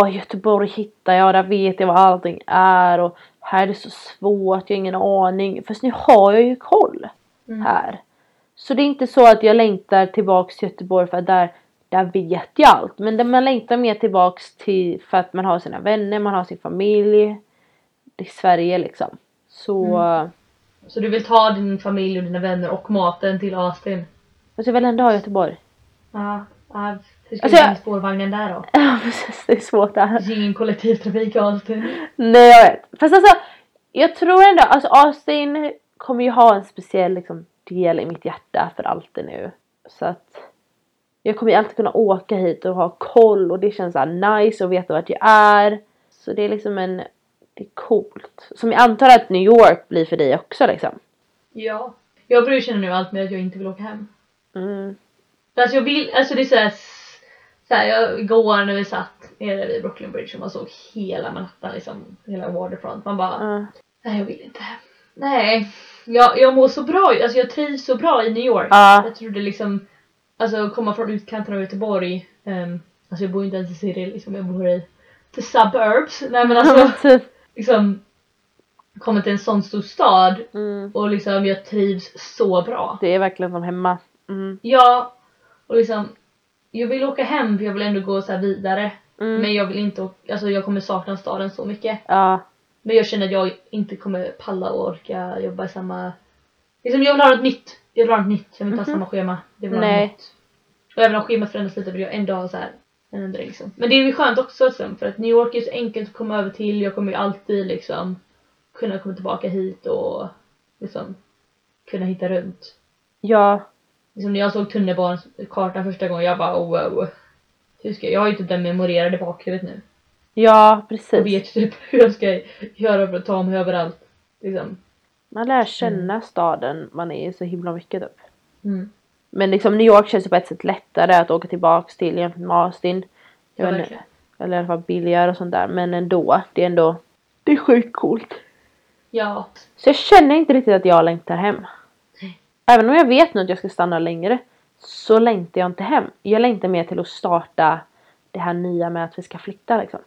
[SPEAKER 1] Åh Göteborg hittar jag, där vet jag vad allting är och här är det så svårt, jag har ingen aning. Fast nu har jag ju koll
[SPEAKER 2] Mm.
[SPEAKER 1] här. Så det är inte så att jag längtar tillbaks till Göteborg för att där, där vet jag allt. Men det- man längtar mer tillbaks till för att man har sina vänner, man har sin familj. Det är Sverige liksom. Så
[SPEAKER 2] Mm. Så du vill ta din familj och dina vänner och maten till Austin?
[SPEAKER 1] alltså jag vill ändå ha Göteborg.
[SPEAKER 2] Ja. ja. Hur ska
[SPEAKER 1] Alltså,
[SPEAKER 2] du
[SPEAKER 1] jag-
[SPEAKER 2] med spårvagnen där då?
[SPEAKER 1] Ja precis, det är svårt det här.
[SPEAKER 2] Det finns ju ingen kollektivtrafik i Austin.
[SPEAKER 1] Nej jag vet. Fast alltså jag tror ändå, alltså Austin kommer ju ha en speciell liksom, del i mitt hjärta för alltid nu. Så att jag kommer ju alltid kunna åka hit och ha koll och det känns så här nice och veta vart jag är. Så det är liksom en, det är coolt. Som jag antar att New York blir för dig också liksom.
[SPEAKER 2] Ja. Jag börjar ju känna nu allt mer att jag inte vill åka hem.
[SPEAKER 1] Mm.
[SPEAKER 2] Alltså jag vill, alltså det är såhär, såhär jag, igår när vi satt nere vid Brooklyn Bridge och man såg hela Manhattan liksom, hela Waterfront. Man bara,
[SPEAKER 1] Ja.
[SPEAKER 2] nej jag vill inte hem. Nej, jag, jag mår så bra, alltså jag trivs så bra i New York.
[SPEAKER 1] Ja.
[SPEAKER 2] Jag trodde liksom, alltså komma från utkanten av Göteborg, um, alltså jag bor ju inte ens i City liksom, jag bor i the suburbs. Nej men alltså
[SPEAKER 1] typ.
[SPEAKER 2] liksom, komma till en sån stor stad
[SPEAKER 1] Mm.
[SPEAKER 2] och liksom jag trivs så bra.
[SPEAKER 1] Det är verkligen som hemma. Mm.
[SPEAKER 2] Ja, och liksom jag vill åka hem för jag vill ändå gå så här vidare.
[SPEAKER 1] Mm.
[SPEAKER 2] Men jag vill inte åka, alltså jag kommer sakna staden så mycket.
[SPEAKER 1] Ja.
[SPEAKER 2] Men jag känner att jag inte kommer palla och orka jobba i samma... Liksom jag vill ha något nytt. Jag vill ha något nytt. Jag vill inte ha samma schema. Jag vill ha
[SPEAKER 1] Mhm. Nej.
[SPEAKER 2] något nytt. Och även om schemat förändras lite vill jag ändå ha så här en ändring liksom. Men det är ju skönt också liksom, för att New York är så enkelt att komma över till. Jag kommer ju alltid liksom kunna komma tillbaka hit och liksom kunna hitta runt.
[SPEAKER 1] Ja,
[SPEAKER 2] Liksom när jag såg tunnelbanekartan första gången, jag bara oh, wow. Hur ska jag? jag har ju typ den memorerad i bakhuvudet nu.
[SPEAKER 1] ja
[SPEAKER 2] Jag
[SPEAKER 1] precis.
[SPEAKER 2] vet typ hur jag ska göra för att ta mig överallt. Liksom.
[SPEAKER 1] Man lär känna staden man är i så himla mycket typ.
[SPEAKER 2] Mm.
[SPEAKER 1] Men liksom New York känns ju på ett sätt lättare att åka tillbaks till jämfört med Austin.
[SPEAKER 2] Ja,
[SPEAKER 1] Men-
[SPEAKER 2] verkligen.
[SPEAKER 1] Eller i alla fall billigare och sånt där. Men ändå, det är ändå... Det är sjukt coolt.
[SPEAKER 2] Ja.
[SPEAKER 1] Så jag känner inte riktigt att jag längtar hem.
[SPEAKER 2] Nej.
[SPEAKER 1] Även om jag vet nu att jag ska stanna längre så längtar jag inte hem. Jag längtar mer till att starta det här nya med att vi ska flytta liksom.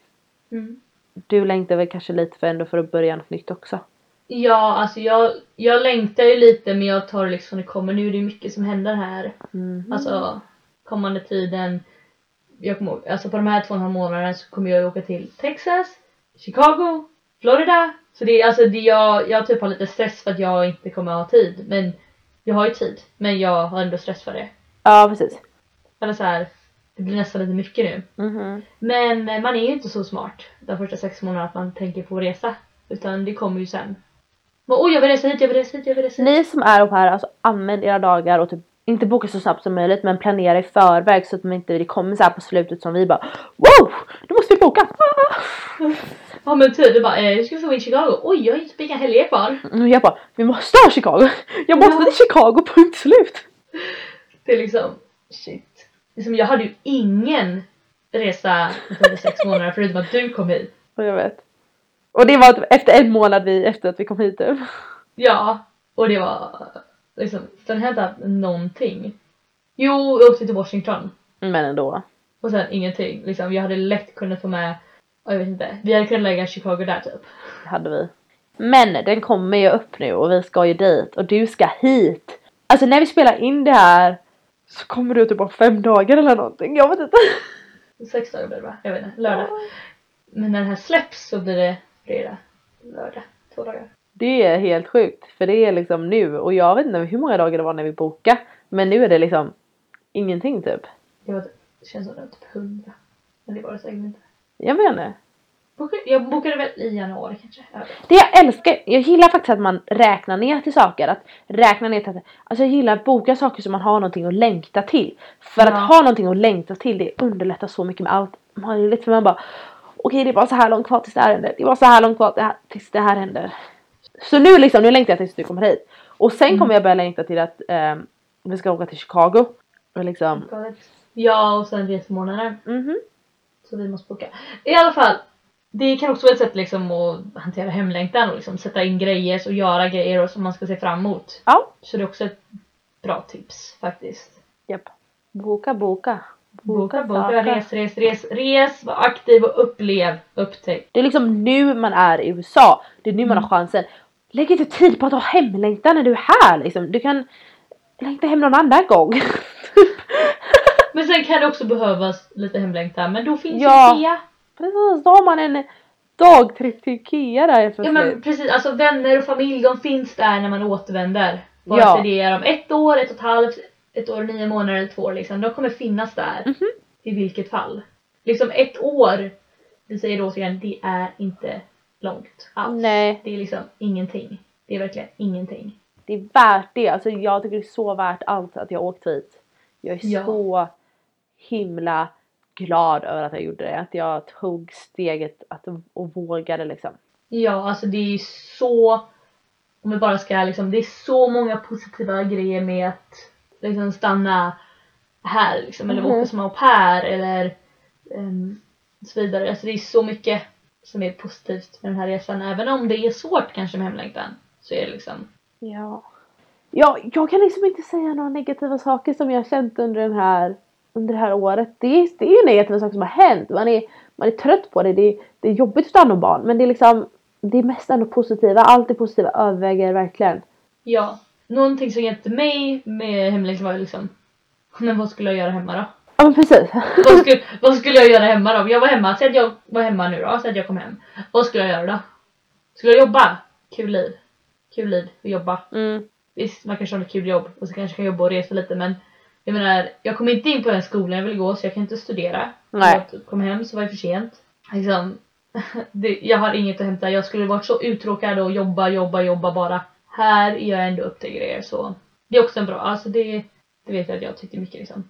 [SPEAKER 2] Mm.
[SPEAKER 1] Du längtar väl kanske lite för ändå för att börja något nytt också?
[SPEAKER 2] Ja, alltså jag, jag längtar ju lite men jag tar det liksom det kommer. Nu är det ju mycket som händer här.
[SPEAKER 1] Mhm.
[SPEAKER 2] Alltså kommande tiden. Jag kommer, ihåg- alltså på de här två och en halv månaderna så kommer jag ju åka till Texas, Chicago, Florida. Så det är alltså det jag, jag typ har lite stress för att jag inte kommer ha tid. Men jag har ju tid. Men jag har ändå stress för det.
[SPEAKER 1] Ja precis.
[SPEAKER 2] Eller så här, det blir nästan lite mycket nu.
[SPEAKER 1] Mhm.
[SPEAKER 2] Men eh, man är ju inte så smart de första sex månaderna att man tänker på att resa. Utan det kommer ju sen. Men oj jag vill resa hit, jag vill resa hit, jag vill resa hit.
[SPEAKER 1] Ni som är au pair, alltså använd era dagar och typ inte boka så snabbt som möjligt men planera i förväg så att man inte det kommer så här på slutet som vi bara Wow! Nu måste vi boka! Ah!
[SPEAKER 2] Ja men typ, du bara eh, hur ska vi få in Chicago? Oj jag har ju typ inga helger kvar.
[SPEAKER 1] Och jag bara, vi måste ha Chicago! Jag måste till Chicago, punkt slut!
[SPEAKER 2] Det är liksom, shit. Liksom, jag hade ju ingen resa under sex månader förutom att du kom hit.
[SPEAKER 1] Och jag vet. Och det var typ efter en månad vi, efter att vi kom hit typ.
[SPEAKER 2] Ja, och det var liksom, den hände någonting. Jo, jag åkte till Washington.
[SPEAKER 1] Men ändå.
[SPEAKER 2] Och sen ingenting. Liksom, jag hade lätt kunnat få med, ja, jag vet inte, vi hade kunnat lägga Chicago där typ.
[SPEAKER 1] Det hade vi. Men den kommer ju upp nu och vi ska ju dit och du ska hit. Alltså när vi spelar in det här så kommer du typ om fem dagar eller någonting. Jag vet inte.
[SPEAKER 2] Sex dagar blir det va? Jag vet inte, lördag. Men när den här släpps så blir det fredag, lördag, två dagar.
[SPEAKER 1] Det är helt sjukt för det är liksom nu och jag vet inte hur många dagar det var när vi bokade. Men nu är det liksom ingenting typ.
[SPEAKER 2] Det, var, det känns som det var typ hundra. Men det var det säkert inte.
[SPEAKER 1] Jag vet inte.
[SPEAKER 2] Boka- Jag bokade väl i januari kanske? Jag vet inte.
[SPEAKER 1] Det jag älskar, jag gillar faktiskt att man räknar ner till saker. Att räkna ner till, alltså jag gillar att boka saker så man har någonting att längta till. För
[SPEAKER 2] Ja.
[SPEAKER 1] att ha någonting att längta till det underlättar så mycket med allt möjligt. För man bara okej det är bara så här långt kvar tills det här händer. Det är bara så här långt kvar till det här- tills det här händer. Så nu liksom, nu längtar jag tills du kommer hit. Och sen kommer jag börja längta till att ehm, vi ska åka till Chicago. Och liksom,
[SPEAKER 2] Galet. Ja, och sen resmånaden.
[SPEAKER 1] mhm.
[SPEAKER 2] Så vi måste boka. I alla fall. Det kan också vara ett sätt liksom att hantera hemlängtan och liksom sätta in grejer och göra grejer och som man ska se fram emot.
[SPEAKER 1] Ja,
[SPEAKER 2] Så det är också ett bra tips faktiskt.
[SPEAKER 1] japp. Boka, boka.
[SPEAKER 2] Boka, boka,
[SPEAKER 1] saker.
[SPEAKER 2] res, res, res, res, var aktiv och upplev, upptäck.
[SPEAKER 1] Det är liksom nu man är i USA. Det är nu
[SPEAKER 2] Mm.
[SPEAKER 1] man har chansen. Lägg inte tid på att ha hemlängtan när du är här liksom. Du kan längta hem någon annan gång.
[SPEAKER 2] Men sen kan det också behövas lite hemlängtan men då finns
[SPEAKER 1] Ja.
[SPEAKER 2] ju Ikea.
[SPEAKER 1] Precis, då har man en dagtripp till Ikea där helt
[SPEAKER 2] Ja
[SPEAKER 1] plötsligt.
[SPEAKER 2] men precis, alltså vänner och familj de finns där när man återvänder. Vare
[SPEAKER 1] Ja.
[SPEAKER 2] sig det är om ett år, ett och ett halvt, ett år, nio månader eller två år liksom. De kommer finnas där.
[SPEAKER 1] Mhm.
[SPEAKER 2] I vilket fall. Liksom ett år, vi säger då återigen, det är inte långt alls.
[SPEAKER 1] Nej.
[SPEAKER 2] Det är liksom ingenting. Det är verkligen ingenting.
[SPEAKER 1] Det är värt det. Alltså jag tycker det är så värt allt att jag åkt hit. Jag är
[SPEAKER 2] Ja.
[SPEAKER 1] så himla glad över att jag gjorde det. Att jag tog steget att, och vågade liksom.
[SPEAKER 2] Ja, alltså det är så, om vi bara ska liksom, det är så många positiva grejer med att liksom stanna här liksom, eller
[SPEAKER 1] Mhm.
[SPEAKER 2] åka som au pair eller um, så vidare. Alltså det är så mycket som är positivt med den här resan. Även om det är svårt kanske med hemlängtan så är det liksom,
[SPEAKER 1] Ja. ja. Jag kan liksom inte säga några negativa saker som jag har känt under, den här, under det här året. Det är, det är ju negativa saker som har hänt. Man är, man är trött på det. Det är, det är jobbigt att ta hand om barn. Men det är liksom det är mest ändå positiva. Allt det positiva överväger verkligen.
[SPEAKER 2] ja. Någonting som hjälpte mig med hemlängtan var ju liksom, men vad skulle jag göra hemma då?
[SPEAKER 1] Ja men precis.
[SPEAKER 2] vad, skulle, vad skulle jag göra hemma då? Om jag var hemma, säg att jag var hemma nu då, säg att jag kom hem. Vad skulle jag göra då? Skulle jag jobba? Kul liv. Kul liv att jobba.
[SPEAKER 1] Mm.
[SPEAKER 2] Visst, man kanske har ett kul jobb och så kanske jag kan jobba och resa lite men jag menar, jag kom inte in på den skolan jag vill gå så jag kan inte studera.
[SPEAKER 1] Nej.
[SPEAKER 2] Jag kom hem så var det för sent. Liksom, det, jag har inget att hämta. Jag skulle varit så uttråkad och jobba, jobba, jobba bara. här är jag ändå upp till grejer så. Det är också en bra, alltså det, det vet jag att jag tycker mycket liksom.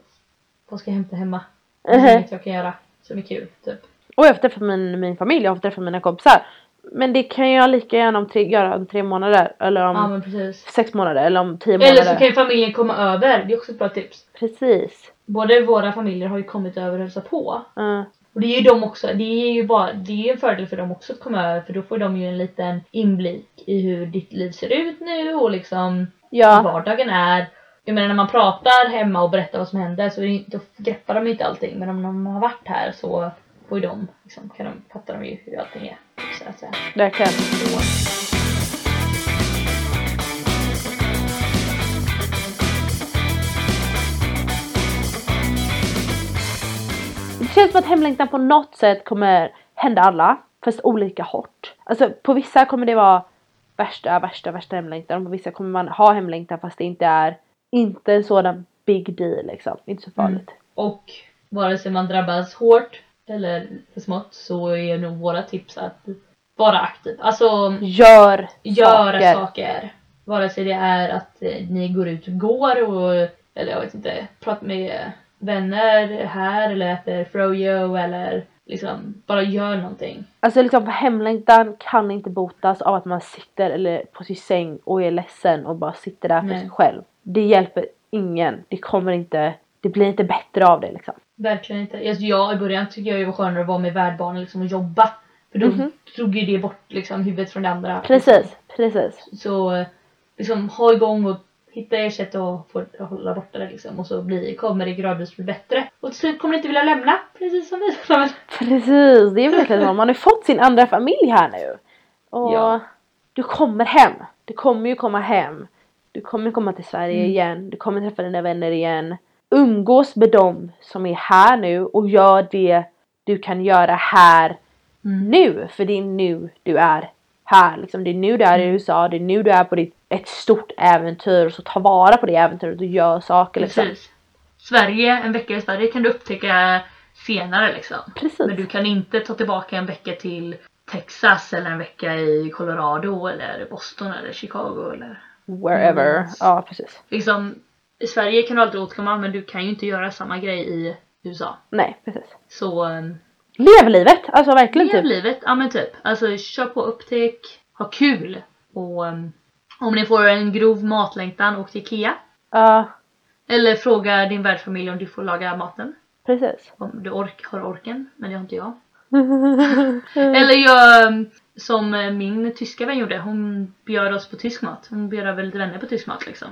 [SPEAKER 2] Vad ska jag hämta hemma? Det är
[SPEAKER 1] Mhm.
[SPEAKER 2] inget jag kan göra som är kul typ.
[SPEAKER 1] Och jag har träffat min, min familj, jag har träffat mina kompisar. Men det kan jag lika gärna om tre, göra om tre månader eller om
[SPEAKER 2] Ja men precis.
[SPEAKER 1] sex månader eller om tio
[SPEAKER 2] Eller
[SPEAKER 1] månader.
[SPEAKER 2] så kan ju familjen komma över, det är också ett bra tips.
[SPEAKER 1] Precis.
[SPEAKER 2] Både våra familjer har ju kommit över och hälsat på.
[SPEAKER 1] Ja.
[SPEAKER 2] Och det är ju de också, det är ju bara, det är ju en fördel för dem också att komma över för då får de ju en liten inblick i hur ditt liv ser ut nu och liksom hur
[SPEAKER 1] ja.
[SPEAKER 2] vardagen är. Jag menar när man pratar hemma och berättar vad som händer så är det, ju- då greppar de ju inte allting men om de har varit här så får ju de, liksom, kan de, fattar de ju hur allting är. Så att säga.
[SPEAKER 1] Verkligen.
[SPEAKER 2] Så.
[SPEAKER 1] Det känns som att hemlängtan på något sätt kommer hända alla. Fast olika hårt. Alltså på vissa kommer det vara värsta, värsta, värsta hemlängtan. Och på vissa kommer man ha hemlängtan fast det inte är inte en sådan big deal liksom. Inte så farligt.
[SPEAKER 2] Och vare sig man drabbas hårt eller för smått så är nog våra tips att vara aktiv. Alltså
[SPEAKER 1] Gör,
[SPEAKER 2] göra saker.
[SPEAKER 1] saker.
[SPEAKER 2] Vare sig det är att eh, ni går ut och går och, eller jag vet inte, pratar med vänner här eller äter froyo eller liksom bara gör någonting.
[SPEAKER 1] Alltså liksom hemlängtan kan inte botas av att man sitter eller på sin säng och är ledsen och bara sitter där för
[SPEAKER 2] Nej.
[SPEAKER 1] sig själv. Det hjälper ingen. Det kommer inte, det blir inte bättre av det liksom.
[SPEAKER 2] Verkligen inte. Alltså jag i början tycker jag det var skönare att vara med värdbarnen liksom och jobba. För då
[SPEAKER 1] Mhm.
[SPEAKER 2] drog ju det bort liksom huvudet från det andra.
[SPEAKER 1] Precis, precis.
[SPEAKER 2] Så eh, liksom ha igång och hitta er sätt att få, att hålla borta det liksom och så blir, kommer det gradvis bli bättre. Och till slut kommer ni inte vilja lämna, precis som vi.
[SPEAKER 1] Precis, det är verkligen så. Man har ju fått sin andra familj här nu. Och
[SPEAKER 2] Ja.
[SPEAKER 1] du kommer hem. Du kommer ju komma hem. Du kommer komma till Sverige
[SPEAKER 2] Mm.
[SPEAKER 1] igen. Du kommer träffa dina vänner igen. Umgås med dem som är här nu och gör det du kan göra här
[SPEAKER 2] Mm.
[SPEAKER 1] nu. För det är nu du är här. Liksom, det är nu du är
[SPEAKER 2] Mm.
[SPEAKER 1] i USA. Det är nu du är på ditt, ett stort äventyr. Så ta vara på det äventyret och gör saker. Liksom.
[SPEAKER 2] Precis. Sverige, en vecka i Sverige kan du upptäcka senare liksom.
[SPEAKER 1] Precis.
[SPEAKER 2] Men du kan inte ta tillbaka en vecka till Texas eller en vecka i Colorado eller Boston eller Chicago eller
[SPEAKER 1] Wherever.
[SPEAKER 2] Mm.
[SPEAKER 1] Ja, precis.
[SPEAKER 2] liksom. I Sverige kan du alltid återkomma men du kan ju inte göra samma grej i USA.
[SPEAKER 1] Nej, precis.
[SPEAKER 2] Så eh,
[SPEAKER 1] Lev livet! Alltså verkligen
[SPEAKER 2] Lev
[SPEAKER 1] typ.
[SPEAKER 2] livet, ja men typ. Alltså kör på upptäck, ha kul. Och um, om ni får en grov matlängtan, åk till IKEA.
[SPEAKER 1] Ja,
[SPEAKER 2] Eller fråga din värdfamilj om du får laga maten.
[SPEAKER 1] precis.
[SPEAKER 2] Om du ork, har orken, men det har inte jag. Eller gör um, som eh, min tyska vän gjorde. Hon bjöd oss på tysk mat. Hon bjöd över lite vänner på tysk mat liksom.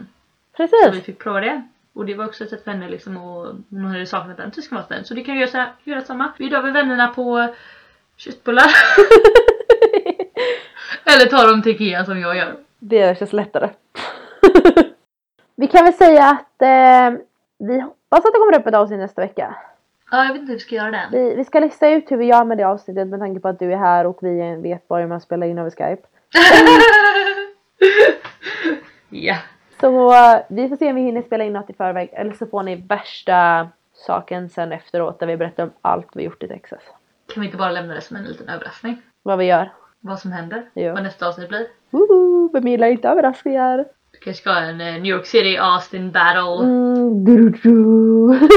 [SPEAKER 2] Så vi
[SPEAKER 1] precis!
[SPEAKER 2] fick prova det. Och det var också ett sätt för henne liksom och hon hade saknat den tyska maten. Så det kan vi göra, så här- göra samma. Bjuda över vännerna på köttbullar. Eller ta dem till Ikea som jag gör.
[SPEAKER 1] Det känns lättare. vi kan väl säga att eh, vi hoppas att det kommer upp ett avsnitt nästa vecka.
[SPEAKER 2] Ja, jag vet inte hur vi ska göra den.
[SPEAKER 1] Vi, vi ska lista ut hur vi gör med det avsnittet med tanke på att du är här och vi vet bara hur man spelar in över Skype.
[SPEAKER 2] ja.
[SPEAKER 1] Så eh, vi får se om vi hinner spela in något i förväg eller så får ni värsta saken sen efteråt där vi berättar om allt vi gjort i Texas.
[SPEAKER 2] Kan vi inte bara lämna det som en liten överraskning?
[SPEAKER 1] Vad vi gör.
[SPEAKER 2] Vad som händer?
[SPEAKER 1] Ja.
[SPEAKER 2] Vad nästa avsnitt blir?
[SPEAKER 1] Woho! Vem gillar inte överraskningar?
[SPEAKER 2] Vi kanske ska ha en eh, New York City Austin battle.
[SPEAKER 1] Mm, du, du, du.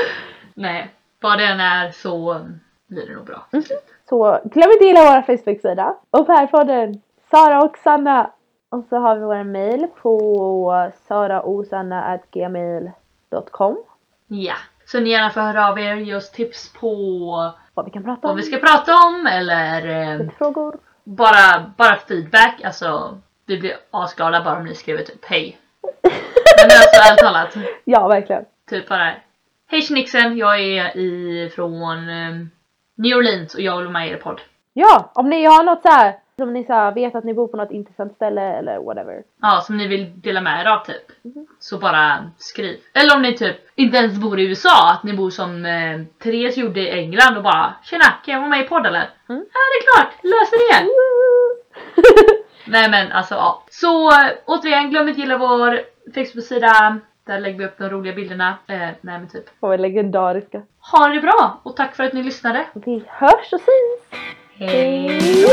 [SPEAKER 2] Nej, vad den är så um, blir det nog bra.
[SPEAKER 1] Så glöm inte att gilla vår Facebook-sida. Och Pärpodden, Sara och Sanna. Och så har vi vår mail på saraosanna.gmail.com.
[SPEAKER 2] Ja. Så ni gärna får höra av er, ge oss tips på
[SPEAKER 1] Vad vi kan prata
[SPEAKER 2] vad
[SPEAKER 1] om.
[SPEAKER 2] vi ska prata om eller eh,
[SPEAKER 1] Frågor.
[SPEAKER 2] bara, bara feedback. Alltså, vi blir asglada bara om ni skriver typ hej. Men alltså ärligt talat.
[SPEAKER 1] Ja, verkligen.
[SPEAKER 2] Typ bara Hej Nixon, jag är ifrån um, New Orleans och jag vill vara med i er podd.
[SPEAKER 1] Ja, om ni har något så här som ni så här, vet att ni bor på något intressant ställe eller whatever.
[SPEAKER 2] Ja, som ni vill dela med er av typ. Så bara skriv. Eller om ni typ inte ens bor i USA, att ni bor som eh, Therese gjorde i England och bara Tjena, kan jag vara med i podd eller?
[SPEAKER 1] Mm.
[SPEAKER 2] Ja, det är klart! Löser det! Nej men alltså ja. Så eh, återigen, glöm inte gilla vår Facebook-sida. Där lägger vi upp de roliga bilderna. Eh, nej men typ.
[SPEAKER 1] Och är legendariska.
[SPEAKER 2] Ha det bra och tack för att ni lyssnade.
[SPEAKER 1] Vi hörs och syns!
[SPEAKER 2] Hej!
[SPEAKER 1] Hej då!